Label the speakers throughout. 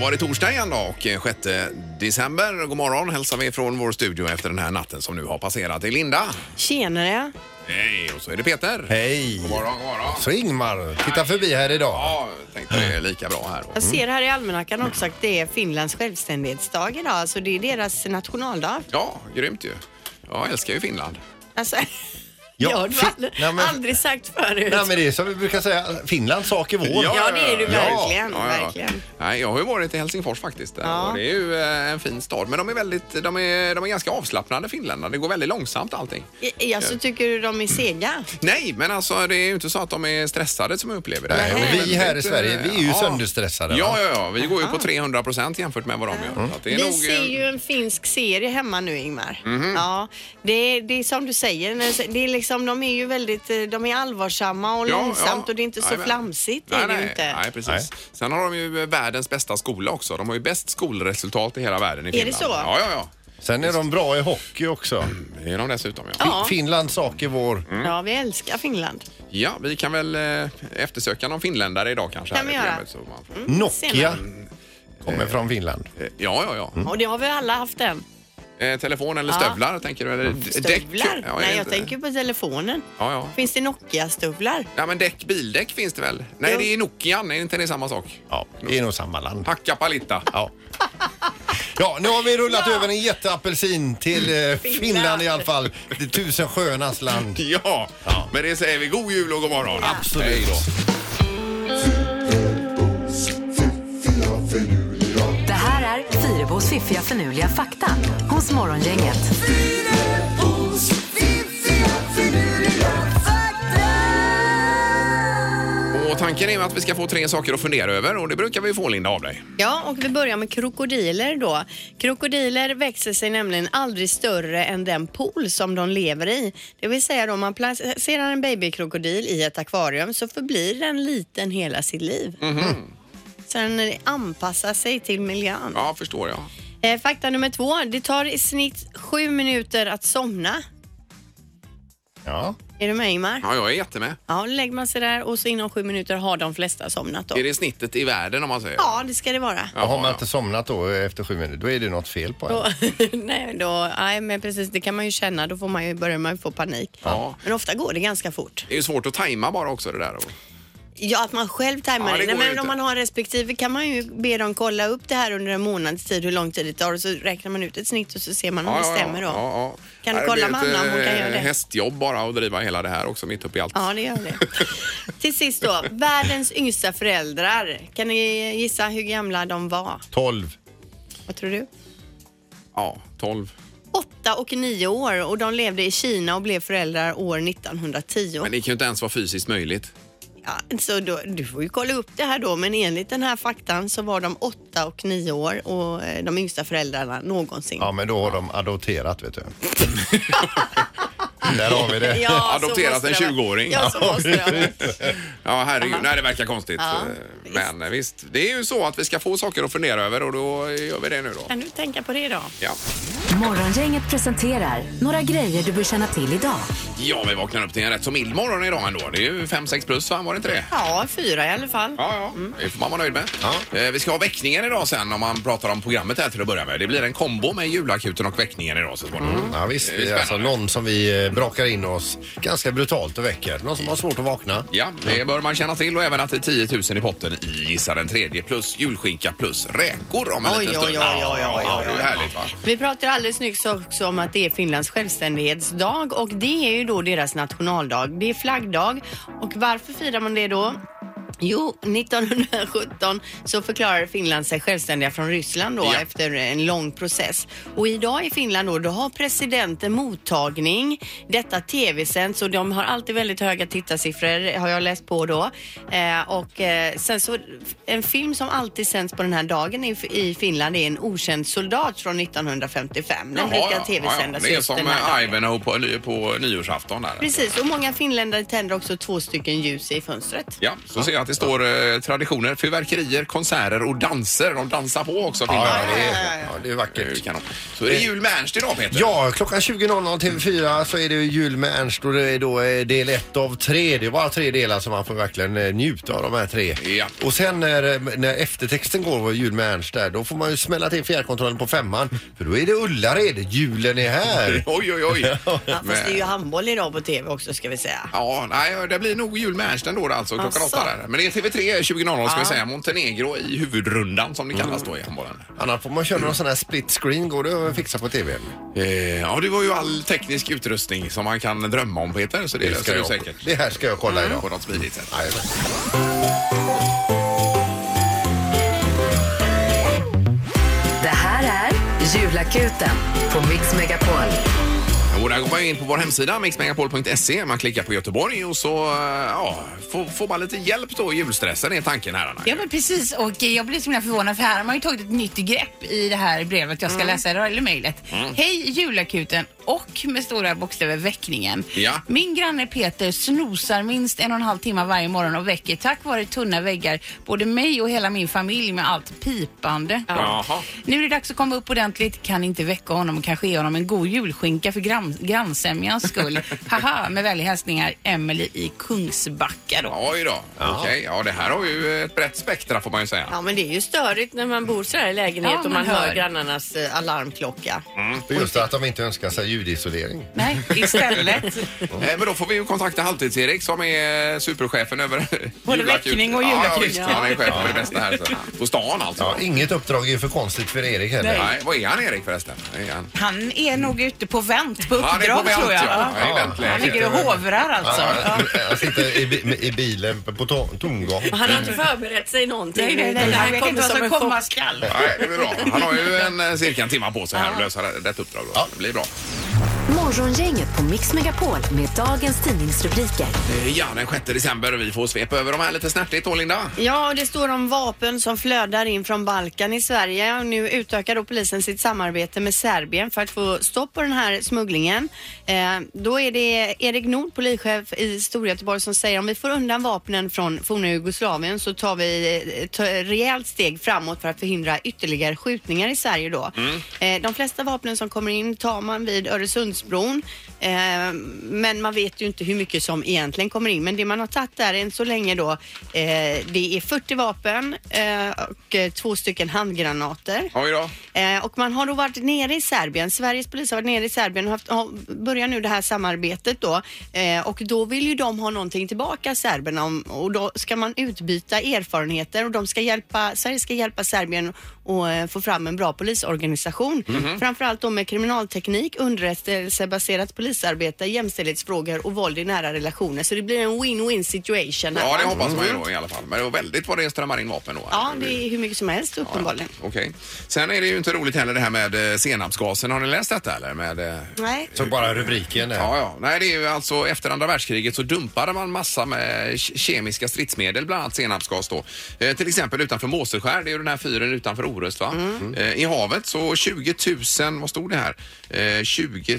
Speaker 1: var det torsdag igen då och eh, 6 december. God morgon hälsar vi från vår studio efter den här natten som nu har passerat. Det är Linda.
Speaker 2: Tjenare.
Speaker 1: Hej, och så är det Peter.
Speaker 3: Hej!
Speaker 1: God morgon, god morgon.
Speaker 3: Så Ingmar, titta förbi här idag.
Speaker 1: Ja, jag tänkte det är lika bra här.
Speaker 2: Jag ser här i almanackan också att det är Finlands självständighetsdag idag, så det är deras nationaldag.
Speaker 1: Ja, grymt ju. Jag älskar ju Finland.
Speaker 2: Alltså,
Speaker 3: Ja,
Speaker 2: jag har du
Speaker 3: fin-
Speaker 2: aldrig,
Speaker 3: nej, men-
Speaker 2: aldrig sagt förut.
Speaker 3: Nej men det är som vi brukar säga, Finlands sak är vår.
Speaker 2: Ja, det är du
Speaker 1: Ja,
Speaker 2: verkligen.
Speaker 1: Ja, ja.
Speaker 2: verkligen.
Speaker 1: Nej, jag har ju varit i Helsingfors faktiskt. där.
Speaker 2: Ja.
Speaker 1: Och det är ju eh, en fin stad. Men de är, väldigt, de är, de är ganska avslappnade finländarna. Det går väldigt långsamt allting.
Speaker 2: I- Alltså, tycker du de är sega?
Speaker 1: Nej, men alltså det är ju inte så att de är stressade som jag upplever det.
Speaker 3: Nej,
Speaker 1: De är
Speaker 3: och vi
Speaker 1: väldigt,
Speaker 3: här i Sverige,
Speaker 1: eh,
Speaker 3: vi är ju sönderstressade, va?
Speaker 1: Ja, ja, ja. Vi går ju på 300 procent jämfört med vad de gör. Så att det är
Speaker 2: Vi
Speaker 1: nog, eh, Mhm.
Speaker 2: ser ju en finsk serie hemma nu Ingmar. Ja, det, är, det är som du säger, när- det är liksom, de är ju väldigt eh, de är allvarsamma och
Speaker 1: ja,
Speaker 2: långsamt
Speaker 1: ja.
Speaker 2: och det är inte så
Speaker 1: Jajamän.
Speaker 2: flamsigt.
Speaker 1: Nej,
Speaker 2: är det
Speaker 1: nej,
Speaker 2: ju inte.
Speaker 1: Nej, precis. Sen har de ju eh, världens bästa skola också. De har ju bäst skolresultat i hela världen i
Speaker 2: det
Speaker 1: Finland.
Speaker 2: så?
Speaker 1: Ja, ja, ja.
Speaker 3: Sen är de bra i hockey också.
Speaker 1: Det är de dessutom, ja.
Speaker 2: Ja. Mm.
Speaker 3: Finlands sak är vår.
Speaker 1: Mm.
Speaker 2: Ja, vi älskar Finland.
Speaker 1: Ja, vi kan väl eh, eftersöka någon finländare idag kanske.
Speaker 2: Kan
Speaker 1: här
Speaker 2: vi
Speaker 1: i
Speaker 2: göra. Mm.
Speaker 1: programmet, så man får-
Speaker 3: Nokia
Speaker 2: Senare.
Speaker 3: kommer från Finland.
Speaker 1: Eh, Ja, ja,
Speaker 3: Mm.
Speaker 1: ja.
Speaker 2: Och det har vi alla haft än.
Speaker 1: Eh, Telefon eller
Speaker 2: Ja.
Speaker 1: stövlar tänker du? Eller d-
Speaker 2: Stövlar?
Speaker 1: Däck? Ja,
Speaker 2: Nej, jag
Speaker 1: inte-
Speaker 2: tänker på telefonen.
Speaker 1: Ja, ja.
Speaker 2: Finns det Nokia-stövlar?
Speaker 1: Ja, men däck, bildäck finns det väl? Nej,
Speaker 2: Jo.
Speaker 1: det är Nokian. Är inte det samma sak?
Speaker 3: Ja, det är nog samma land.
Speaker 1: Hacka palitta.
Speaker 3: Ja. Ja, nu har vi rullat över en jätteapelsin till eh, Finland i alla fall. Det tusen sjöarnas land.
Speaker 1: Ja,
Speaker 3: Ja.
Speaker 1: men det säger vi. God jul och god morgon.
Speaker 3: Absolut.
Speaker 1: Hej då.
Speaker 4: Det här är Fyrabos fiffiga förnuliga fakta hos Morgongänget.
Speaker 1: Och tanken är att vi ska få tre saker att fundera över och det brukar vi få Linda av dig.
Speaker 2: Ja, och vi börjar med krokodiler då. Krokodiler växer sig nämligen aldrig större än den pool som de lever i. Det vill säga då, om man placerar en babykrokodil i ett akvarium så förblir den liten hela sitt liv. Sen anpassar sig till miljön.
Speaker 1: Mhm. Ja, förstår jag.
Speaker 2: Eh, fakta nummer två, det tar i snitt sju minuter att somna.
Speaker 3: Ja.
Speaker 2: Är du med Ingmar?
Speaker 1: Ja, jag är jättemed.
Speaker 2: Ja, lägger man sig där och så inom sju minuter har de flesta somnat då.
Speaker 1: Är det snittet i världen om man säger?
Speaker 2: Ja, det ska det vara.
Speaker 1: Jaha,
Speaker 3: Har man
Speaker 1: ja.
Speaker 3: inte somnat då eh, efter sju minuter, då är det något fel på en.
Speaker 2: Då, nej, då, nej, men precis, det kan man ju känna. Då får man ju, börjar man ju få panik.
Speaker 1: Ja.
Speaker 2: Men ofta går det ganska fort.
Speaker 1: Det är ju svårt att tajma bara också det där. Och-
Speaker 2: Ja, att man själv tajmar
Speaker 1: Ja, det
Speaker 2: det.
Speaker 1: går ju
Speaker 2: Nej, men
Speaker 1: inte.
Speaker 2: om man har respektive kan man ju be dem kolla upp det här under en månads tid, hur lång tid det tar. Och så räknar man ut ett snitt och så ser man om det stämmer då.
Speaker 1: Ja, ja.
Speaker 2: Kan du
Speaker 1: Nej,
Speaker 2: kolla
Speaker 1: det
Speaker 2: med
Speaker 1: blir
Speaker 2: Anna om hon
Speaker 1: ett,
Speaker 2: kan göra
Speaker 1: eh,
Speaker 2: det?
Speaker 1: hästjobb bara och driva hela det här också mitt uppe i allt.
Speaker 2: Ja, det gör det. Till sist då, världens yngsta föräldrar. Kan ni gissa hur gamla de var?
Speaker 3: Tolv.
Speaker 2: Vad tror du?
Speaker 1: Ja, 12.
Speaker 2: åtta och nio år och de levde i Kina och blev föräldrar år 1910.
Speaker 1: Men det kan ju inte ens vara fysiskt möjligt.
Speaker 2: Ja, så då, du får ju kolla upp det här då, men enligt den här faktan så var de åtta och nio år och eh, de yngsta föräldrarna någonsin.
Speaker 3: Ja, men då har de adopterat vet du. Där har vi det.
Speaker 2: Ja, så
Speaker 1: Adopterat
Speaker 2: måste
Speaker 1: en
Speaker 2: det vara.
Speaker 1: 20-åring.
Speaker 2: Ja, så måste det vara.
Speaker 1: Ja, herregud. Nej, det verkar konstigt.
Speaker 2: Ja,
Speaker 1: Eh, Men eh, visst, det är ju så att vi ska få saker att fundera över och då gör vi det nu då.
Speaker 2: Kan du tänka på det då?
Speaker 1: Ja.
Speaker 4: Morgongänget presenterar några grejer du bör känna till idag.
Speaker 1: ja, vi vaknar upp till en rätt så mild morgon idag ändå. Det är ju 5-6 plus, va? Var det inte det?
Speaker 2: Ja, fyra i alla fall.
Speaker 1: Ja, ja.
Speaker 2: Mm.
Speaker 1: Det får man vara nöjd med.
Speaker 3: Ja.
Speaker 1: Eh, Vi ska ha väckningen idag sen om man pratar om programmet här till att börja med. Det blir en kombo med julakuten och väckningen idag så småningom.
Speaker 2: Mm.
Speaker 3: Ja, visst, det är alltså någon som vi eh, brakar in oss ganska brutalt och väcker. Någon som har svårt att vakna.
Speaker 1: Ja, det bör man känna till och även att det är 10 000 i potten i Gissa den tredje plus julskinka plus räkor om en
Speaker 2: Oj,
Speaker 1: liten
Speaker 2: oj,
Speaker 1: stund.
Speaker 2: oj, oj, oj, oj,
Speaker 1: Ja, det är ju härligt va?
Speaker 2: Vi pratade alldeles nyss också om att det är Finlands självständighetsdag och det är ju då deras nationaldag. Det är flaggdag och varför firar man det då? Jo, 1917 så förklarade Finland sig självständiga från Ryssland då
Speaker 1: Ja.
Speaker 2: efter en lång process. Och idag i Finland då, då har presidenten mottagning. Detta tv-sänds och de har alltid väldigt höga tittarsiffror har jag läst på då. Eh, och eh, sen så, en film som alltid sänds på den här dagen i, i Finland är En okänd soldat från 1955. Den brukar tv-sändas
Speaker 1: Det är
Speaker 2: just den
Speaker 1: som eh,
Speaker 2: här dagen.
Speaker 1: Ivanhoe på, ny- på nyårsafton där.
Speaker 2: Precis, och många finländare tänder också två stycken ljus i fönstret.
Speaker 1: Ja, så ser jag att Det står eh, traditioner, fyrverkerier, konserter och danser. De dansar på också
Speaker 3: Ja,
Speaker 1: finnarna.
Speaker 3: det är, ja, det är
Speaker 1: Det är ju
Speaker 3: vackert.
Speaker 1: kanon. Så
Speaker 2: Eh,
Speaker 1: är det jul med Ernst idag Peter.
Speaker 3: Ja, klockan 20.00 till 4 så är det ju jul med Ernst och det är då eh, del ett av tre. Det är bara tre delar så man får verkligen eh, njuta av de här tre.
Speaker 1: Ja.
Speaker 3: Och sen när, eh, när eftertexten går var jul med Ernst där, då får man ju smälla till fjärrkontrollen på femman. För då är det Ullared, julen är här.
Speaker 1: Oj, oj, oj.
Speaker 2: Ja, fast det är ju
Speaker 1: Men-
Speaker 2: handboll idag på tv också ska vi säga.
Speaker 1: Ja, nej, det blir nog jul med Ernst ändå då, alltså klockan
Speaker 2: Asså.
Speaker 1: åtta där. Men det är TV3 20.00 ska vi
Speaker 2: Ja. Mm.
Speaker 1: säga. Montenegro i huvudrundan som det kallas då i handbollen.
Speaker 3: Annars får man köra någon sån här split screen, går det att fixa på tvn?
Speaker 1: Eh, ja, det var ju all teknisk utrustning som man kan drömma om Peter, så det, löser du
Speaker 3: jag,
Speaker 1: säkert. Mm.
Speaker 3: det här ska jag kolla
Speaker 1: På
Speaker 3: idag.
Speaker 1: något smidigt sätt.
Speaker 3: Jajamän.
Speaker 4: Det här är Julakuten på Mix Megapol.
Speaker 1: Och där går man ju in på vår hemsida mixmegapol.se. Man klickar på Göteborg och så eh, ja, får, får man lite hjälp då i julstressen är tanken här Anna.
Speaker 5: Ja men precis och eh, jag blev så himla förvånad för här har man ju tagit ett nytt grepp i det här brevet jag ska
Speaker 1: Mm.
Speaker 5: läsa idag, eller mejlet. Hej julakuten och med stora bokstäver väckningen.
Speaker 1: Ja.
Speaker 5: Min granne Peter snosar minst en och en halv timme varje morgon och väcker tack vare tunna väggar både mig och hela min familj med allt pipande.
Speaker 1: Jaha.
Speaker 5: Nu är det dags att komma upp ordentligt. Kan inte väcka honom och kanske ge honom en god julskinka för grann, grannsämjans skull. Haha, med vänliga hälsningar Emily i Kungsbacka då.
Speaker 1: Oj då. Okej, ja det här har ju ett brett spektra får man ju säga.
Speaker 2: Ja men det är ju störigt när man bor sådär i lägenhet och
Speaker 5: Ja,
Speaker 2: man
Speaker 5: man
Speaker 2: hör
Speaker 5: hör.
Speaker 2: grannarnas eh, alarmklocka.
Speaker 1: Mm.
Speaker 3: För just att de inte önskar sig ljudisolering.
Speaker 5: Nej, istället.
Speaker 1: Eh, Men då får vi ju kontakta Halvtids-Erik som är superchefen över
Speaker 5: Både
Speaker 1: julakut.
Speaker 5: väckning och
Speaker 1: Ja,
Speaker 5: julakut.
Speaker 1: visst, han är chef för det bästa här. Så. På stan alltså.
Speaker 3: Ja, inget uppdrag är för konstigt för Erik heller.
Speaker 5: Nej.
Speaker 1: Nej, vad är han Erik förresten? Är han?
Speaker 5: Han är nog ute på vänt på
Speaker 1: Han är på
Speaker 5: uppdrag
Speaker 1: vänt,
Speaker 5: tror jag.
Speaker 1: ja. Ja, i väntläge.
Speaker 5: Han ligger och hovrar alltså. Ja.
Speaker 3: Ja, Han sitter i, bi- i bilen på to- tomgång.
Speaker 2: Han har inte förberett sig någonting.
Speaker 5: Nej, nej, nej.
Speaker 2: Det
Speaker 5: Han
Speaker 2: här
Speaker 5: vet
Speaker 2: kommer
Speaker 5: inte vad
Speaker 2: som
Speaker 5: som
Speaker 2: en chock.
Speaker 5: komma skall.
Speaker 1: Nej, det blir bra. Han har ju en, eh, cirka en timme på sig här att lösa det- detta uppdrag. Då.
Speaker 3: Ja.
Speaker 1: Det blir bra.
Speaker 4: Morgongänget på Mix Megapol med dagens tidningsrubriker.
Speaker 1: Eh, Ja, den 6 december. Vi får svepa över de här lite snärtigt då, Linda.
Speaker 2: Ja, och det står om vapen som flödar in från Balkan i Sverige. Och Nu utökar då polisen sitt samarbete med Serbien för att få stopp på den här smugglingen. Eh, då är det Erik Nord, polischef i Storgöteborg, som säger om vi får undan vapnen från forna Jugoslavien så tar vi ett rejält steg framåt för att förhindra ytterligare skjutningar i Sverige då. Eh, de flesta vapnen som kommer in tar man vid Öresundsbron. Eh, men man vet ju inte hur mycket som egentligen kommer in. Men det man har tagit där än så länge då, eh, det är 40 vapen eh, och eh, två stycken handgranater.
Speaker 1: Oj då.
Speaker 2: Eh, och man har då varit nere i Serbien, Sveriges polis har varit nere i Serbien och haft, har- börjar nu det här samarbetet då. Eh, och då vill ju de ha någonting tillbaka serberna om, och då ska man utbyta erfarenheter och de ska hjälpa, Sverige ska hjälpa Serbien och eh, få fram en bra polisorganisation.
Speaker 1: Mhm.
Speaker 2: Framförallt då med kriminalteknik, underrättelsebaserat polisarbete, jämställdhetsfrågor och våld i nära relationer. Så det blir en win-win situation här.
Speaker 1: Ja, det
Speaker 2: va?
Speaker 1: hoppas man ju då i alla fall. Men det var väldigt vad det strömmar in vapen då.
Speaker 2: Mm. ja, det är hur mycket som helst uppenbarligen.
Speaker 1: Okej. Sen är det ju inte roligt heller det här med eh, senapsgasen. Har ni läst detta eller? Med, eh,
Speaker 2: Nej.
Speaker 3: Så bara rubriken där.
Speaker 1: Ja, ja. Nej, det är ju alltså efter andra världskriget så dumpade man massa med ke- kemiska stridsmedel, bland annat senapsgas då. Eh, till exempel utanför Måseskär, det är ju den här fyren utanför Orust va?
Speaker 2: Mm.
Speaker 1: Eh, I havet så 20 000, vad stod det här? Eh, 20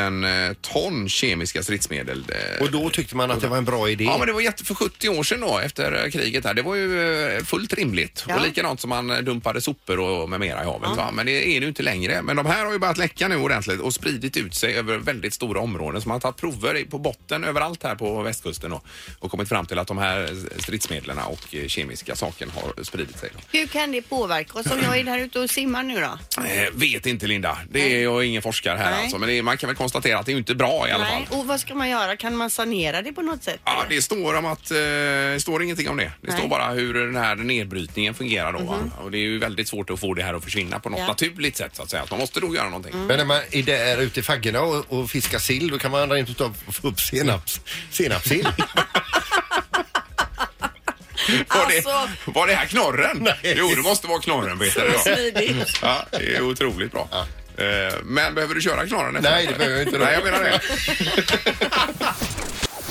Speaker 1: 000 eh, ton kemiska stridsmedel. Eh,
Speaker 3: Och då tyckte man att det var en bra idé.
Speaker 2: Mm.
Speaker 1: Ja, men det var jätte för 70 år sedan då efter eh, kriget här. Det var ju eh, fullt rimligt.
Speaker 2: Ja.
Speaker 1: Och likadant som man eh, dumpade sopor och med mera i havet. Va? Men det är det ju inte längre. Men de här har ju börjat läcka nu ordentligt och spridit ut sig över väldigt stora områden. Så man har tagit prover i- på botten överallt här på västkusten och, och kommit fram till att de här eh, stridsmedlen och eh, kemiska saken har spridit sig. Då.
Speaker 2: Hur kan det påverka oss om jag är där ute och simmar nu då?
Speaker 1: Eh, vet inte Linda. Det är jag ingen forskare här
Speaker 2: Mm. Nej.
Speaker 1: alltså. Men det är, man kan väl konstatera att det är ju inte bra i alla fall.
Speaker 2: Nej. Och vad ska man göra? Kan man sanera det på något sätt?
Speaker 1: Ja,
Speaker 2: eller?
Speaker 1: det står om att, eh, det står ingenting om det. Det
Speaker 2: Nej. Mhm.
Speaker 1: står bara hur den här nedbrytningen fungerar då. va? Och det är ju väldigt svårt att få det här att försvinna på något
Speaker 2: Ja. Mm.
Speaker 1: naturligt sätt så att säga. Att man måste då göra någonting.
Speaker 3: Men när man är där ute i faggorna och, och fiskar sill då kan man rent utav få upp senaps, senapssill.
Speaker 1: Var,
Speaker 2: Alltså-
Speaker 1: det, var det här knorren?
Speaker 3: Nej.
Speaker 1: Jo, det måste vara knorren Peter.
Speaker 2: Så
Speaker 1: Ja.
Speaker 2: smidigt.
Speaker 1: Ja, det är otroligt bra. Eh, Men behöver du köra knorren? efter
Speaker 3: Nej,
Speaker 1: detta?
Speaker 3: det behöver jag inte.
Speaker 1: Nej, jag menar det.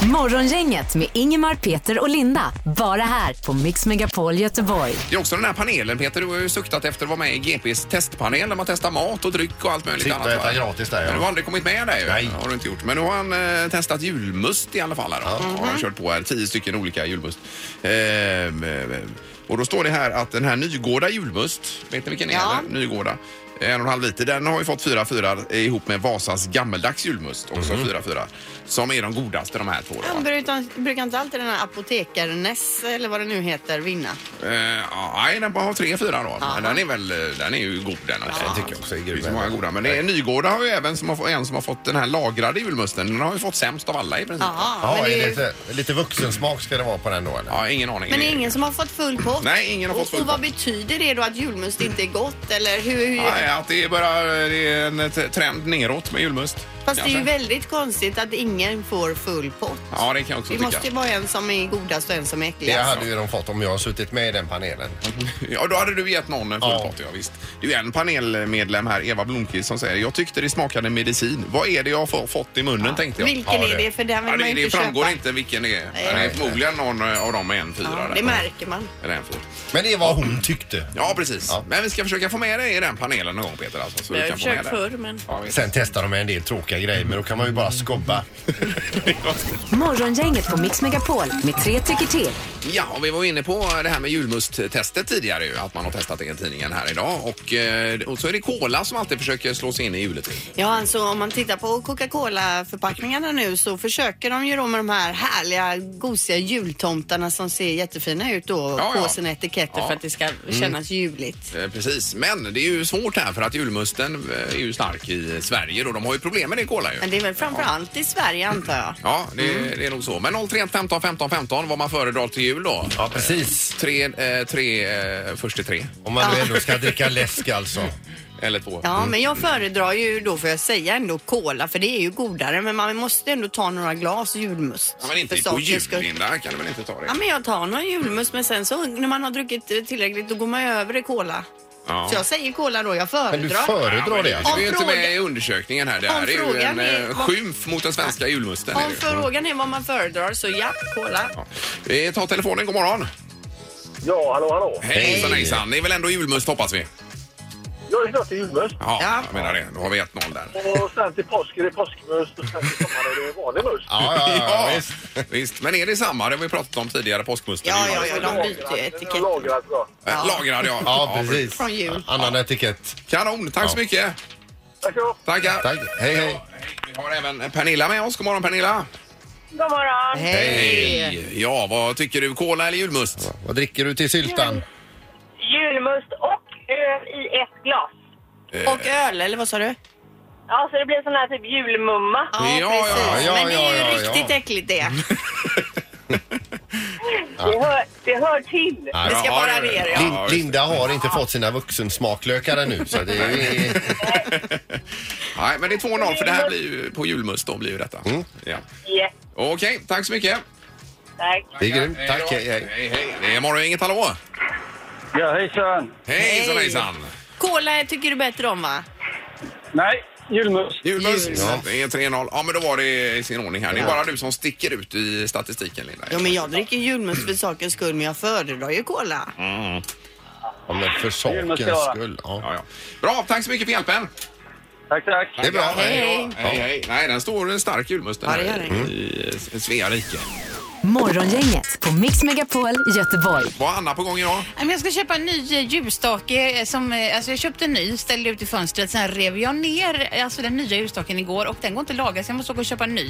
Speaker 4: Morgongänget med Ingemar, Peter och Linda. Bara här på Mix Megapol Göteborg.
Speaker 1: Det är också den här panelen, Peter, du har ju suktat efter att vara med i GPs testpanel där man testar mat och dryck och allt möjligt
Speaker 3: Sitta och
Speaker 1: annat. va?
Speaker 3: äta gratis där, ja.
Speaker 1: Men du har aldrig kommit med där ju.
Speaker 3: Nej.
Speaker 1: Har du inte gjort. Men nu har han eh, testat julmust i alla fall. Här, då. Har han kört på här, tio stycken olika julmust. Ehm, eh, och då står det här att den här Nygårda julmust, vet ni vilken det
Speaker 2: Ja.
Speaker 1: är? Den Nygårda. En och en halv liter. Den har ju fått fyra fyrar ihop med Vasas gammeldags julmust, också
Speaker 3: Mhm.
Speaker 1: fyra fyrar. Som är de godaste de här två. Då.
Speaker 2: Han brukar, brukar inte alltid den här apotekarnäs eller vad det nu heter vinna.
Speaker 1: Eh, ja, Nej, den bara har tre fyra då. Men den är väl, eh, den är ju god den också.
Speaker 3: tycker jag också är grym.
Speaker 1: Det är ju så många goda. Men det är Nygårda har ju även som har, fått- en som har fått den här lagrade julmusten. Den har ju fått sämst av alla i princip.
Speaker 2: Jaha,
Speaker 3: Ja,
Speaker 2: men, det
Speaker 3: är
Speaker 2: är,
Speaker 3: det
Speaker 2: ju-
Speaker 3: lite, lite vuxensmak ska det vara på den då eller?
Speaker 1: Ja, ingen aning.
Speaker 2: men det är ingen som har fått full pott?
Speaker 1: Nej, ingen har fått full
Speaker 2: och, och vad
Speaker 1: pott.
Speaker 2: betyder det då att julmust inte är gott? Eller hur, hur,
Speaker 1: Nej, att det är bara det är en t- trend neråt med julmust.
Speaker 2: Fast det är ju
Speaker 1: kanske.
Speaker 2: väldigt konstigt att ingen får full pott.
Speaker 1: Ja, det kan jag också
Speaker 2: Det
Speaker 1: tycka.
Speaker 2: måste ju vara en som är godast och en som är
Speaker 3: Det
Speaker 2: äckligast.
Speaker 3: hade ju de fått om jag har suttit med i den panelen.
Speaker 1: Ja, då hade du gett någon en full
Speaker 3: Ja.
Speaker 1: pott, ja visst. Det är ju en panelmedlem här, Eva Blomqvist, som säger jag tyckte det smakade medicin. Vad är det jag har få- fått i munnen, tänkte jag.
Speaker 2: Vilken
Speaker 3: Ja,
Speaker 2: är
Speaker 3: det-
Speaker 2: det? För den vill
Speaker 1: Ja,
Speaker 2: man
Speaker 1: det,
Speaker 2: ju
Speaker 1: det
Speaker 2: inte
Speaker 1: framgår
Speaker 2: köpa.
Speaker 1: inte vilken det är.
Speaker 2: Nej.
Speaker 1: Men Det är förmodligen någon eh, av dem med en fyra.
Speaker 2: Ja,
Speaker 1: där.
Speaker 2: det märker man.
Speaker 1: Eller en fyra.
Speaker 3: Men det är vad hon tyckte.
Speaker 1: Ja, precis.
Speaker 3: Ja.
Speaker 1: Men vi ska försöka få med dig i den panelen någon gång, Peter. Alltså, så
Speaker 2: Jag
Speaker 1: du
Speaker 2: har
Speaker 1: kan få
Speaker 2: försökt
Speaker 1: med dig.
Speaker 2: förr, men-
Speaker 1: Ja, visst.
Speaker 3: Sen testar de en del tråkiga grejer men då kan man ju bara skobba.
Speaker 4: Morgongänget på Mix Megapol med tre tycker till.
Speaker 1: ja, och vi var inne på det här med julmusttestet tidigare ju, att man har testat det i tidningen här idag. Och, eh, och så är det Cola som alltid försöker slå sig in i hjulet.
Speaker 2: Ja, alltså om man tittar på Coca-Cola-förpackningarna nu så försöker de ju då med de här härliga gosiga jultomtarna som ser jättefina ut då
Speaker 1: Ja,
Speaker 2: på
Speaker 1: ja.
Speaker 2: sina etiketter
Speaker 1: Ja.
Speaker 2: för att det ska kännas juligt.
Speaker 1: Eh, Precis, men det är ju svårt här för att julmusten eh, är ju stark i Sverige och de har ju problem med det Cola ju.
Speaker 2: Men det är väl framförallt i Sverige antar jag.
Speaker 1: Ja, det,
Speaker 2: Mm.
Speaker 1: det är nog så. Men 031 15 15 15 vad man föredrar till jul då.
Speaker 3: Ja precis.
Speaker 1: Tre, eh, tre, eh, först till tre.
Speaker 3: Om man nu ändå ska dricka läsk alltså.
Speaker 1: Eller två. Mm.
Speaker 2: Ja, men jag föredrar ju då får jag säga ändå cola för det är ju godare men man måste ändå ta några glas julmust.
Speaker 1: Ja, men inte
Speaker 2: för
Speaker 1: på
Speaker 2: sakens
Speaker 1: jul,
Speaker 2: skull.
Speaker 1: Linda. Kan du väl inte ta det?
Speaker 2: Ja, men jag tar någon julmust men sen så när man har druckit eh, tillräckligt då går man ju över i cola.
Speaker 1: Ja.
Speaker 2: Så jag säger cola då, jag
Speaker 3: Men du
Speaker 2: föredrar.
Speaker 1: Ja, men
Speaker 3: föredrar det
Speaker 1: Du
Speaker 3: alltså?
Speaker 1: är ju inte
Speaker 2: Om
Speaker 1: med i undersökningen här. Det
Speaker 2: om
Speaker 1: här är ju en
Speaker 2: frågan är-
Speaker 1: eh, skymf mot den svenska julmusten. är
Speaker 2: Om
Speaker 1: det ju.
Speaker 2: frågan är vad man föredrar så ja, cola.
Speaker 1: Ja. Vi tar telefonen. God morgon.
Speaker 6: Ja, hallå, hallå.
Speaker 1: Hejsan, hejsan. Det är väl ändå julmust hoppas vi?
Speaker 6: Jag är glad till julmust.
Speaker 1: Ja,
Speaker 2: Ja.
Speaker 1: jag menar det. Då har vi 1-0 där.
Speaker 6: Och sen till påsk är det påskmust och sen till sommar är det vanlig must.
Speaker 3: Ja, ja, ja, visst.
Speaker 1: visst. Men är det samma? Det har vi pratat om tidigare, påskmusten.
Speaker 2: Ja,
Speaker 1: Det är
Speaker 2: ja,
Speaker 1: ju-
Speaker 2: ja, de byter ju
Speaker 6: Den är
Speaker 2: etikett
Speaker 6: lagrad bra.
Speaker 1: Eh, Lagrad, ja.
Speaker 3: Ja, precis.
Speaker 2: från jul.
Speaker 3: Annan etikett.
Speaker 1: Kanon. Tack så mycket.
Speaker 6: Tack så
Speaker 1: Tackar.
Speaker 3: Tack. Hej, hej.
Speaker 1: Vi har även Pernilla med oss. God morgon, Pernilla.
Speaker 7: God morgon.
Speaker 2: Hej!
Speaker 1: Ja, vad tycker du? Cola eller julmust?
Speaker 3: Vad dricker du till syltan?
Speaker 7: Julmust och öl i ett glas.
Speaker 2: Och öl, eller vad sa du?
Speaker 7: Ja, så det blir sån här typ julmumma.
Speaker 1: Ja, ja,
Speaker 3: ja,
Speaker 2: Men det är ju
Speaker 3: ja, ja,
Speaker 2: riktigt
Speaker 3: ja.
Speaker 2: äckligt det.
Speaker 7: Det, hör, det hör till.
Speaker 3: Ja,
Speaker 2: Vi ska
Speaker 1: ja, det-
Speaker 2: bara ner.
Speaker 1: Ja,
Speaker 2: ja.
Speaker 3: Lin-
Speaker 1: visst.
Speaker 3: Linda har inte fått sina vuxensmaklökar ännu så det är
Speaker 1: Nej, men det är 2-0 för det här blir ju på julmust då blir ju detta.
Speaker 2: Mm.
Speaker 1: Ja.
Speaker 7: Yes,
Speaker 1: Okej, tack så mycket.
Speaker 7: tack.
Speaker 3: Det är grymt.
Speaker 1: Hej
Speaker 3: Tack,
Speaker 1: då.
Speaker 3: hej, hej.
Speaker 1: hej. Det är morgon, inget hallå.
Speaker 6: Ja, hejsan.
Speaker 1: Hejsan, hejsan.
Speaker 2: Cola tycker du bättre om va?
Speaker 6: Nej, julmust.
Speaker 1: Julmust.
Speaker 2: Julmust.
Speaker 1: Ja. Det är 3-0. Ja, men då var det i sin ordning här. Det är bara du som sticker ut i statistiken, Linda.
Speaker 2: Ja, men jag dricker julmust för sakens skull men jag föredrar ju cola.
Speaker 3: Ja, men för sakens
Speaker 6: måste jag vara.
Speaker 3: skull. Ja.
Speaker 1: Ja, ja. Bra, tack så mycket för hjälpen.
Speaker 6: Tack, tack.
Speaker 3: Det är bra.
Speaker 1: Hej, då. hej, hej. Nej, den står en stark julmust den
Speaker 2: Ja,
Speaker 1: här
Speaker 2: det gör den.
Speaker 1: i eh, Svea rike.
Speaker 4: Morgongänget på Mix Megapol Göteborg.
Speaker 1: Var Anna på gång idag?
Speaker 5: Nej, men Jag ska köpa en ny eh, ljusstake. eh, Som, eh, alltså jag köpte en ny, ställde ut i fönstret. Sen rev jag ner eh, alltså den nya ljusstaken igår och den går inte att laga så jag måste åka och köpa en ny.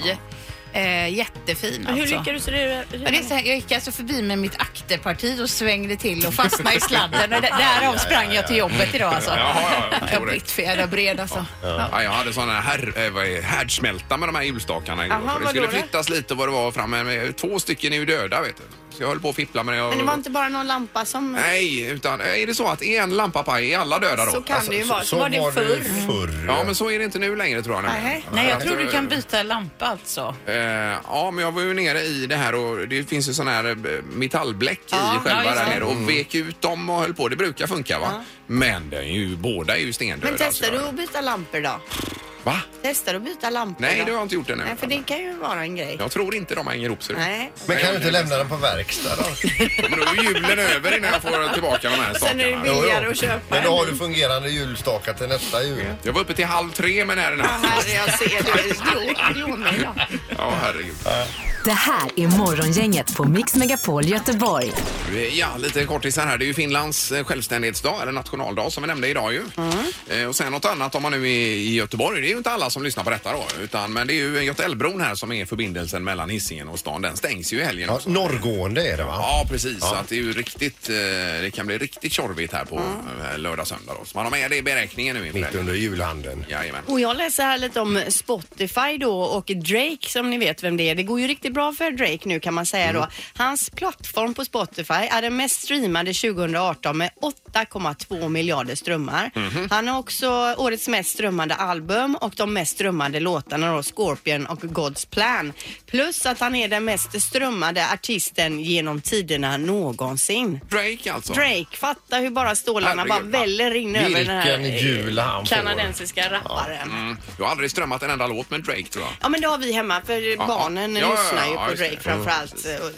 Speaker 5: Eh, jättefin
Speaker 2: Hur
Speaker 5: alltså.
Speaker 2: lyckades du det?
Speaker 5: Ja, det är så här, jag gick alltså förbi med mitt akterparti och svängde till och fastnade i sladden. Och d- därav sprang jag till jobbet idag alltså.
Speaker 1: Ja, ja, jag
Speaker 5: jag
Speaker 1: förstår
Speaker 5: har
Speaker 1: det.
Speaker 5: blivit för jävla bred alltså. Ja.
Speaker 1: Ja, jag hade sån här här, eh, vad är, härdsmälta med de här julstakarna igår.
Speaker 2: Jaha,
Speaker 1: för det
Speaker 2: vad
Speaker 1: skulle
Speaker 2: då det?
Speaker 1: flyttas lite vad det var framme. Men eh, Två stycken är ju döda vet du. Så jag höll på att fippla med det.
Speaker 2: Men det var inte bara någon lampa som...
Speaker 1: Nej, utan eh, är det så att är en lampa paj är alla döda då?
Speaker 2: Så kan det ju vara. Så
Speaker 3: Alltså, Så
Speaker 2: var det förr.
Speaker 3: förr.
Speaker 1: Ja, men så är det inte nu längre tror jag. nämligen.
Speaker 2: Nej.
Speaker 5: Nej, jag
Speaker 1: Att,
Speaker 5: tror du
Speaker 1: eh,
Speaker 5: kan byta lampa alltså.
Speaker 1: Eh, ja, men jag var ju nere i det här och det finns ju sån här eh, metallbläck
Speaker 5: Ja,
Speaker 1: i själva
Speaker 5: ja, just
Speaker 1: där
Speaker 5: det.
Speaker 1: nere och vek ut dem och höll på. Det brukar funka va? Men den är ju, båda är ju stendöda.
Speaker 2: Men
Speaker 1: så
Speaker 2: testar
Speaker 1: jag-
Speaker 2: du att byta lampor då?
Speaker 1: Va?
Speaker 2: Testar att byta lamporna.
Speaker 1: Nej, det har jag inte gjort ännu.
Speaker 2: Nej, för det kan ju vara en grej.
Speaker 1: Jag tror inte de hänger ihop så det-
Speaker 2: Nej.
Speaker 3: Men kan
Speaker 1: Nej,
Speaker 3: du inte
Speaker 1: det är
Speaker 3: lämna den på verkstad då?
Speaker 1: Ja, Men då är julen över innan jag får tillbaka de här
Speaker 2: Sen är det
Speaker 1: sakerna.
Speaker 3: Jo,
Speaker 2: billigare
Speaker 3: jo.
Speaker 2: att köpa.
Speaker 3: Men då har du fungerande julstakar till nästa jul.
Speaker 1: Jag var uppe till halv tre med den här i natt.
Speaker 2: Herre, jag ser det.
Speaker 5: Jo, men ja.
Speaker 1: Ja, herregud.
Speaker 4: Det här är Morgongänget på Mix Megapol Göteborg.
Speaker 1: Ja, lite kortisar här. Det är ju Finlands eh, självständighetsdag, eller nationaldag som vi nämnde idag ju. Eh, Och sen något annat om man nu är i Göteborg. Det är ju inte alla som lyssnar på detta då. Utan, men det är ju Götaälvbron här som är förbindelsen mellan Hisingen och stan. Den stängs ju i helgen
Speaker 3: Ja,
Speaker 1: också.
Speaker 3: norrgående är det va?
Speaker 1: Ja, precis. Så att det är ju riktigt, eh, det kan bli riktigt tjorvigt här på eh, lördag, söndag då. Så man har med det i beräkningen nu inför
Speaker 3: Mitt
Speaker 1: helgen.
Speaker 3: under julhandeln.
Speaker 1: Jajamän.
Speaker 2: Och jag läser här lite om Spotify då och Drake som ni vet vem det är. Det går ju riktigt bra för Drake nu kan man säga
Speaker 3: Mm.
Speaker 2: då. Hans plattform på Spotify är den mest streamade 2018 med 8,2 miljarder strömmar.
Speaker 3: Mhm.
Speaker 2: Han har också årets mest strömmande album och de mest strömmande låtarna då Scorpion och God's Plan. Plus att han är den mest strömmade artisten genom tiderna någonsin.
Speaker 1: Drake alltså.
Speaker 2: Drake, fatta hur bara stålarna
Speaker 1: Herregud,
Speaker 2: bara
Speaker 1: va?
Speaker 2: väller in över den här
Speaker 3: Vilken
Speaker 2: eh,
Speaker 3: jul han får.
Speaker 2: kanadensiska rapparen.
Speaker 1: Mm. Jag har aldrig strömmat en enda låt med Drake tror jag.
Speaker 2: Ja men det har vi hemma för barnen
Speaker 1: ja, ja,
Speaker 2: lyssnar ju
Speaker 1: ja,
Speaker 2: på
Speaker 1: just det.
Speaker 2: Drake framförallt. eh, och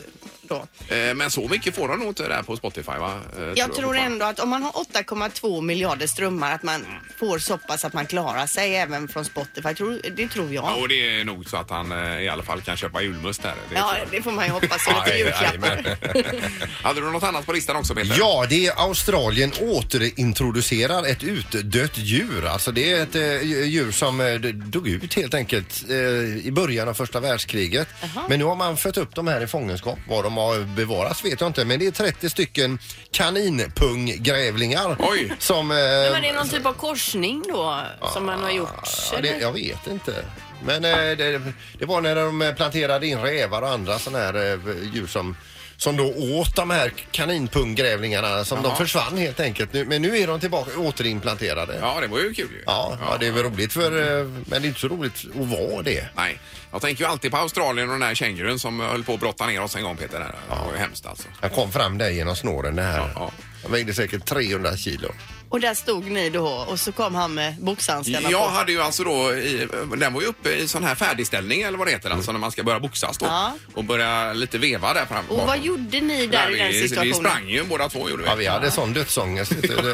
Speaker 2: Då.
Speaker 1: Eh, Men så mycket får han nog inte där på Spotify va? Eh,
Speaker 2: Jag tror
Speaker 1: fortfarande.
Speaker 2: ändå att om man har 8,2 miljarder strömmar att man får så pass att man klarar sig även från Spotify. Tror- Det tror
Speaker 1: Ja,
Speaker 2: jag.
Speaker 1: och det är nog så att han eh, i alla fall kan köpa julmust här. Det
Speaker 2: Ja,
Speaker 1: tror jag.
Speaker 2: det får man ju hoppas som lite
Speaker 3: Aj,
Speaker 2: julklappar.
Speaker 3: jajamän.
Speaker 1: Hade du något annat på listan också Peter?
Speaker 3: Ja, det är Australien återintroducerar ett utdött djur. Alltså det är ett eh, djur som eh, d- dog ut helt enkelt eh, i början av första världskriget. Men nu har man fött upp de här i fångenskap. Vad de har bevarats vet jag inte. Men det är 30 stycken kaninpunggrävlingar.
Speaker 1: Oj.
Speaker 3: Som... eh,
Speaker 2: Men det är någon typ av korsning då som man har
Speaker 1: Ah,
Speaker 2: gjort?
Speaker 3: ja, det,
Speaker 2: eller?
Speaker 3: jag vet inte. Men eh, det, det var när de eh, planterade in rävar och andra sådana här eh, djur som som då åt de här kaninpunggrävlingarna som de försvann helt enkelt. Nu, men nu är de tillbaka återimplanterade. Ja,
Speaker 1: Ja, det var ju kul ju.
Speaker 3: ja, det är väl roligt för... eh, Men det är inte så roligt att vara det.
Speaker 1: Nej, jag tänker ju alltid på Australien och den här kängurun som höll på att brotta ner oss en gång Peter. Det var ju hemskt alltså.
Speaker 3: Han kom fram där genom snåren det här.
Speaker 1: Ja,
Speaker 3: Han vägde säkert 300 kilo.
Speaker 2: Och där stod ni då och så kom han med boxhandskarna
Speaker 1: Jag
Speaker 2: på.
Speaker 1: hade ju alltså då, i, den var ju uppe i sån här färdigställning eller vad det heter, alltså när man ska börja boxas då.
Speaker 2: Ja.
Speaker 1: Och börja lite veva där fram.
Speaker 2: Och vad
Speaker 1: bakom.
Speaker 2: gjorde ni där i
Speaker 1: Nej,
Speaker 2: den
Speaker 1: vi, vi
Speaker 2: situationen?
Speaker 1: sprang ju båda två gjorde vi.
Speaker 3: Ja, vi hade sån dödsångest. vet du.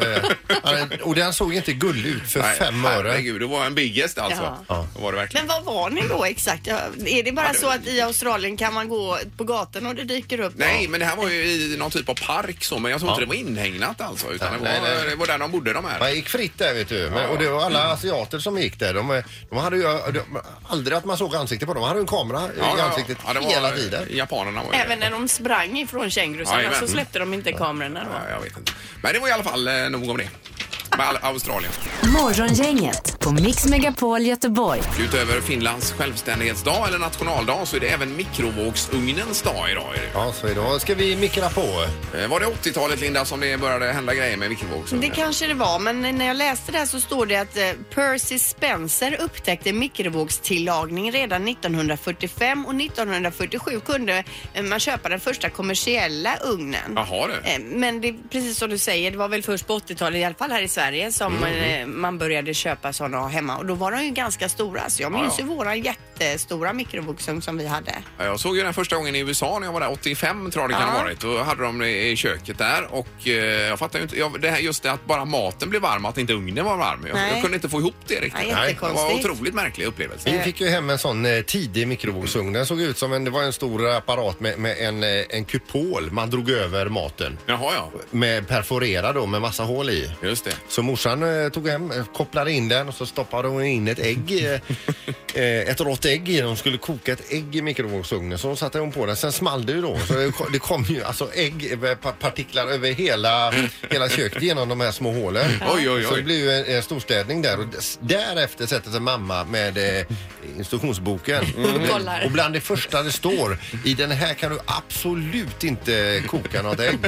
Speaker 3: Det- han- Och den såg inte gullig ut för
Speaker 1: Nej,
Speaker 3: fem öre.
Speaker 1: Herregud, det var en biggest alltså.
Speaker 2: Ja.
Speaker 1: Ja. Det var det verkligen.
Speaker 2: Men var var ni då exakt? Ja, Är det bara så att i Australien kan man gå på gatan och det dyker upp?
Speaker 1: Nej, men det här var ju i någon typ av park så, men jag tror inte det var inhägnat alltså. Utan det, var,
Speaker 3: Nej, nej.
Speaker 1: det var där de bodde de här.
Speaker 3: Man gick fritt där vet du. Men, och det var alla asiater som gick där. De, de hade ju de, aldrig att man såg ansiktet på dem. De hade ju en kamera i ansiktet
Speaker 1: det var-
Speaker 3: hela tiden.
Speaker 1: Japanerna var ju
Speaker 2: Även när de sprang ifrån kängurusarna
Speaker 1: Jajamän.
Speaker 2: så släppte de inte kamerorna då.
Speaker 1: Ja, jag vet inte. Men det var i alla fall eh, nog om det. Med all- Australien.
Speaker 4: Morgongänget på Mix Megapol Göteborg.
Speaker 1: Utöver Finlands självständighetsdag eller nationaldag så är det även mikrovågsugnens dag idag. Är det.
Speaker 3: Ja, så idag ska vi mikra på.
Speaker 1: ju. Eh, Var det 80-talet Linda som det började hända grejer med mikrovågsugnen?
Speaker 2: Det kanske det var, men när jag läste det här så står det att eh, Percy Spencer upptäckte mikrovågstillagning redan 1945 och 1947 kunde eh, man köpa den första kommersiella ugnen.
Speaker 1: Jaha du.
Speaker 2: Eh, Men det, precis som du säger, det var väl först på 80-talet, i alla fall här i Sverige, som
Speaker 1: Mm.
Speaker 2: eh, man började köpa sådana hemma. Och då var de ju ganska stora. Så jag minns
Speaker 1: Ja, ja.
Speaker 2: ju våra jättestora mikrovågsugn som vi hade.
Speaker 1: Ja, Jag såg ju den första gången i USA när jag var där, 85 tror jag det kan ha
Speaker 2: Ja.
Speaker 1: varit. Då hade de det i köket där och eh, jag fattar ju inte, jag, det här, just det att bara maten blev varm, att inte ugnen var varm. Jag,
Speaker 2: Nej.
Speaker 1: jag kunde inte få ihop det riktigt.
Speaker 2: Nej,
Speaker 1: det var en
Speaker 2: jättekonstigt.
Speaker 1: otroligt märklig upplevelse.
Speaker 3: Vi fick ju hem en sån eh, tidig mikrovågsugn. Den såg ut som en, det var en stor apparat med, med en, eh, en kupol. Man drog över maten.
Speaker 1: Jaha ja,
Speaker 3: Med perforerad då med massa hål i.
Speaker 1: just det.
Speaker 3: Så morsan eh, tog hem, eh, kopplade in den och så stoppade hon in ett ägg, eh, eh, ett rått ägg i den. Hon skulle koka ett ägg i mikrovågsugnen så satte hon på den. Sen small det ju då. Så det kom- det kom ju alltså ägg, eh, pa- partiklar över hela, hela köket genom de här små hålen.
Speaker 1: Oj, oj,
Speaker 3: Så
Speaker 1: oj.
Speaker 3: det blev ju en, en storstädning där och des- därefter sätter sig mamma med eh, instruktionsboken.
Speaker 1: Mm.
Speaker 2: Kollar.
Speaker 3: Och bland det första det står, i den här kan du absolut inte koka något ägg.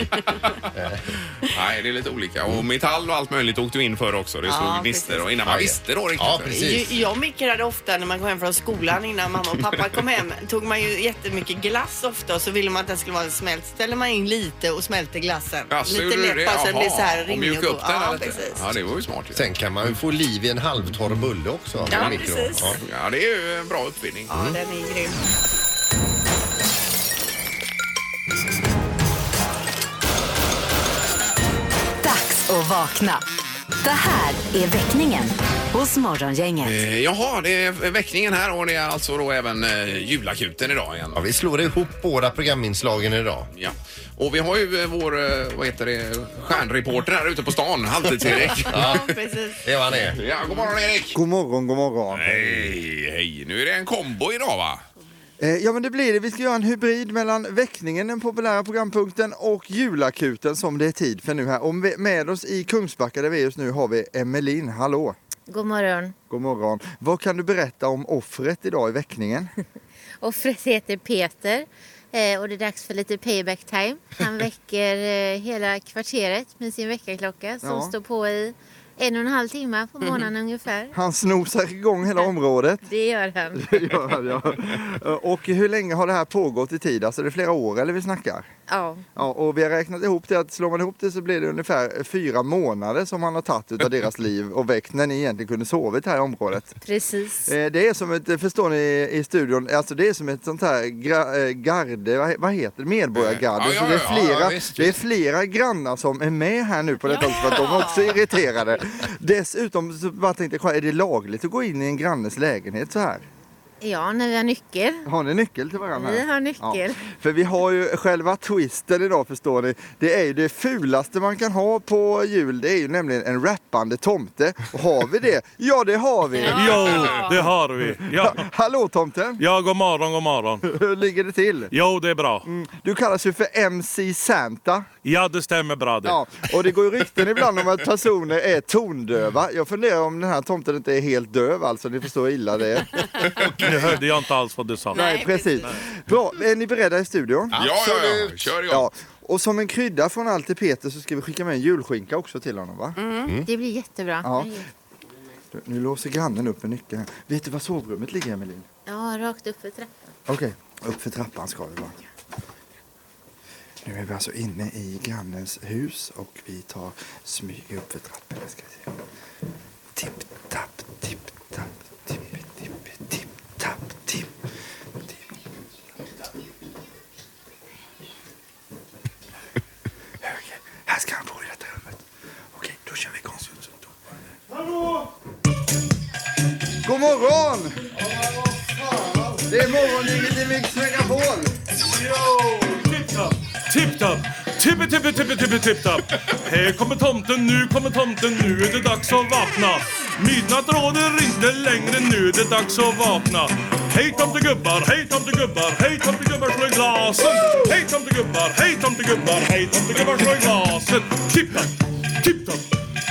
Speaker 1: Nej, det är lite olika. Och metall och allt möjligt åkte ju in för också. Det stod
Speaker 2: Mm. Ja,
Speaker 1: gnister
Speaker 2: precis.
Speaker 1: och innan man
Speaker 3: Ja, ja.
Speaker 1: visste då riktigt.
Speaker 3: Ja, precis.
Speaker 2: Ju- Jag mikrade ofta när man kom hem från skolan innan mamma och pappa kom hem. Tog man ju jättemycket glass ofta och så ville man att den skulle vara smält. Ställer man in lite och smälter glassen.
Speaker 1: Jaså,
Speaker 2: lite
Speaker 1: gjorde du
Speaker 2: lätt bara så
Speaker 1: Jaha,
Speaker 2: det blir så här
Speaker 1: och
Speaker 2: rinnig
Speaker 1: mjuka upp
Speaker 2: god.
Speaker 1: den här
Speaker 2: Ja,
Speaker 1: lite.
Speaker 2: precis.
Speaker 1: Ja, det var ju smart. ju.
Speaker 3: Sen kan man ju få liv i en halvtorr bulle också. med
Speaker 2: Ja,
Speaker 3: mikron.
Speaker 2: precis.
Speaker 3: Ja.
Speaker 1: Ja, det är ju en bra uppfinning.
Speaker 2: Ja, den är grym.
Speaker 4: Dags att vakna. Det här är väckningen hos Morgongänget.
Speaker 1: Eh, Jaha, det är väckningen här och det är alltså då även eh, julakuten idag igen.
Speaker 3: Ja, vi slår ihop båda programinslagen idag.
Speaker 1: Ja. Och vi har ju eh, vår, eh, vad heter det, stjärnreporter här ute på stan, halvtids-Erik.
Speaker 2: Ja, precis.
Speaker 3: Det var det.
Speaker 1: Ja, god morgon Erik!
Speaker 8: God morgon, god morgon.
Speaker 1: Hej, hej! Nu är det en kombo idag va?
Speaker 8: Eh, ja, men det blir det. Vi ska göra en hybrid mellan väckningen, den populära programpunkten, och julakuten som det är tid för nu här. Och med- med oss i Kungsbacka där vi är just nu har vi Emmeline. Hallå!
Speaker 9: God morgon.
Speaker 8: God morgon. Vad kan du berätta om offret idag i väckningen?
Speaker 9: Offret heter Peter eh, och det är dags för lite payback time. Han väcker eh, hela kvarteret med sin väckarklocka som
Speaker 8: Ja. Mm.
Speaker 9: står på i en och en halv timme på morgonen ungefär.
Speaker 8: Han snosar igång hela området.
Speaker 9: Det gör han.
Speaker 8: Det gör han, ja. Eh, Och hur länge har det här pågått i tid? Alltså det är flera år eller vi snackar?
Speaker 9: Ja,
Speaker 8: Ja, och vi har räknat ihop det att slår man ihop det så blir det ungefär fyra månader som han har tagit av deras liv och väckt när ni egentligen kunde sovit här i området.
Speaker 9: precis.
Speaker 8: Eh, Det är som ett, förstår ni i studion, alltså det är som ett sånt här gra, eh, garde, vad he- vad heter det, medborgargarde.
Speaker 1: Ja, ja,
Speaker 8: så det,
Speaker 1: ja, ja,
Speaker 8: är flera,
Speaker 3: visst,
Speaker 8: det är flera grannar som är med här nu på detta också för att de är också irriterade. Dessutom så bara tänkte jag, kolla, är det lagligt att gå in i en grannes lägenhet så här?
Speaker 9: Ja, när vi har nyckel.
Speaker 8: Har ni nyckel till varandra?
Speaker 9: Vi har nyckel.
Speaker 8: För vi har ju själva twisten idag förstår ni. Det är ju det fulaste man kan ha på jul. Det är ju nämligen en rappande tomte. Och har vi det? Ja det har vi!
Speaker 10: Jo, det har vi. Ja,
Speaker 8: Hallå tomten!
Speaker 10: ja god morgon, god morgon.
Speaker 8: Hur ligger det till?
Speaker 10: Jo, det är bra.
Speaker 8: Du kallas ju för MC Santa.
Speaker 10: Ja, det stämmer bra det.
Speaker 8: Ja, och det går ju rykten ibland om att personer är tondöva. Jag funderar om den här tomten inte är helt döv alltså. Ni förstår hur illa det är.
Speaker 10: Nu hörde jag inte alls vad du sa.
Speaker 8: Nej, precis. Bra, är ni beredda i studion?
Speaker 1: Ja, ja, ja, kör igång!
Speaker 8: Ja. Och som en krydda från allt till Peter så ska vi skicka med en julskinka också till honom va?
Speaker 9: Mm. Det blir jättebra.
Speaker 8: Ja. Du, Nu låser grannen upp en nyckel här. Vet du var sovrummet ligger Emelin?
Speaker 9: Ja, rakt upp för trappan.
Speaker 8: Okej, upp för trappan ska vi vara. Nu är vi alltså inne i grannens hus och vi tar smyger upp för trappan. Jag Ska se. Tipp, tapp, tipp, tapp, tipp, tipp, tipp, tapp, tipp. tipp. Höger. Här ska han bo i detta rummet. Okej, då kör vi konstgjort. God morgon! Det är morgongänget i Mix Megapol.
Speaker 10: Tipptopp, tipptopp, tippe tippe tippe tippe tipptopp. Här kommer tomten, nu kommer tomten, nu är det dags att vakna. Midnatt råder inte längre, nu är det dags att vakna. Hej tomtegubbar, hej tomtegubbar, hej tomtegubbar slå i glasen. Hej tomtegubbar, hej tomtegubbar, hej tomtegubbar slå i glasen. Tipptopp, tipptopp,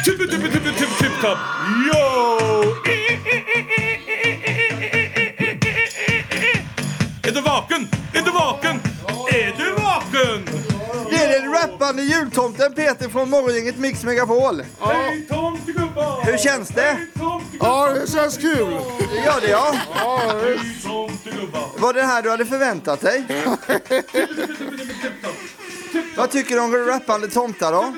Speaker 10: tippe tippe tippe tippe tipptopp. Yo! Är du vaken? Är du vaken? Är du vaken?
Speaker 8: Det är den rappande jultomten Peter från morgongänget Mix Megapol.
Speaker 10: Hej tomtegubbar!
Speaker 8: Hur känns det?
Speaker 10: Hej tomtegubbar!
Speaker 8: Ja, det känns kul. Det gör det ja.
Speaker 10: Hej tomtegubbar!
Speaker 8: Var det här du hade förväntat dig? Vad tycker du om rappande tomtar då?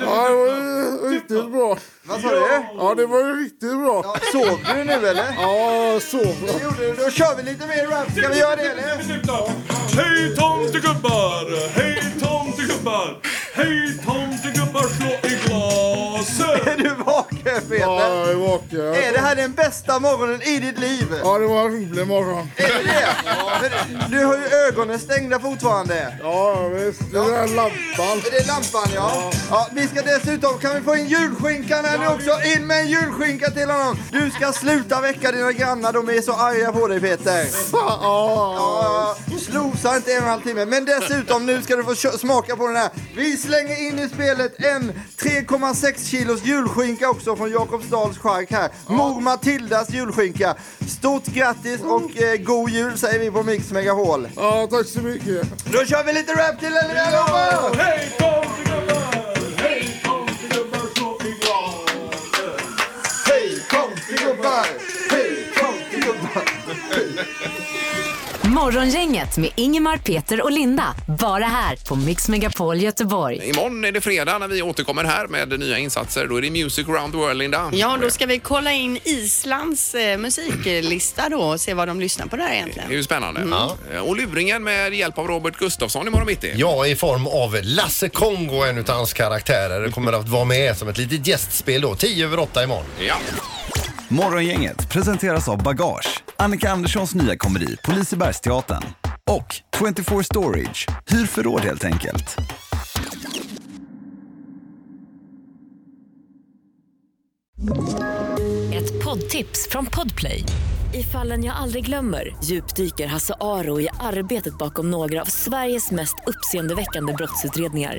Speaker 11: Ja, det var ju riktigt bra.
Speaker 8: Vad sa du?
Speaker 11: Ja, det var ju riktigt bra.
Speaker 8: Ja, Sov du nu eller?
Speaker 11: Ja, så bra.
Speaker 8: Det gjorde du. Då kör vi lite mer rap. Ska vi göra det eller?
Speaker 10: Hej tomtegubbar! Hej tomtegubbar! Hej tomtegubbar slå i glasen!
Speaker 8: Är du vaken
Speaker 11: Ja,
Speaker 8: Peter?
Speaker 11: jag är vaken.
Speaker 8: Är det här den bästa morgonen i ditt liv?
Speaker 11: Ja, det var en rolig morgon.
Speaker 8: Är det det? Men Du har ju ögonen stängda fortfarande.
Speaker 11: Ja, visst. Den där lampan.
Speaker 8: Det är lampan ja. ja. Vi ska dessutom, kan vi få in julskinkan här nu också? In med en julskinka till honom. Du ska sluta väcka dina grannar, de är så arga på dig Peter.
Speaker 11: Ja,
Speaker 8: Ja, Rosa inte en och en halv timme. Men dessutom, nu ska du få kö- smaka på den här. Vi slänger in i spelet en 3,6 kilos julskinka också från Jakobsdals chark här. Mor Matildas julskinka. Stort grattis och eh, god jul säger vi på Mix Megapol.
Speaker 12: Mm. Ja, tack så mycket.
Speaker 8: Då kör vi lite rap till eller vi lovar!
Speaker 10: Hej, kom till
Speaker 8: gubbar! Hej, kom till gubbar!
Speaker 13: Morgongänget med Ingemar, Peter och Linda. Bara här på Mix Megapol Göteborg.
Speaker 1: Imorgon är det fredag när vi återkommer här med nya insatser. Då är det Music around the world, Linda.
Speaker 14: Ja, då ska vi kolla in Islands eh, musiklista då och se vad de lyssnar på där egentligen.
Speaker 1: Det är ju spännande. Eh, Och luringen med hjälp av Robert Gustafsson imorgon mitt i.
Speaker 3: Ja, i form av Lasse Kongo, en utav hans karaktärer, Det kommer att vara med som ett litet gästspel då. 10 över 8 imorgon.
Speaker 1: Ja.
Speaker 15: Morgongänget presenteras av Bagage, Annika Anderssons nya komedi på Lisebergsteatern och 24 Storage, hyr förråd helt enkelt.
Speaker 4: Ett poddtips från Podplay. I fallen jag aldrig glömmer djupdyker Hasse Aro i arbetet bakom några av Sveriges mest uppseendeväckande brottsutredningar.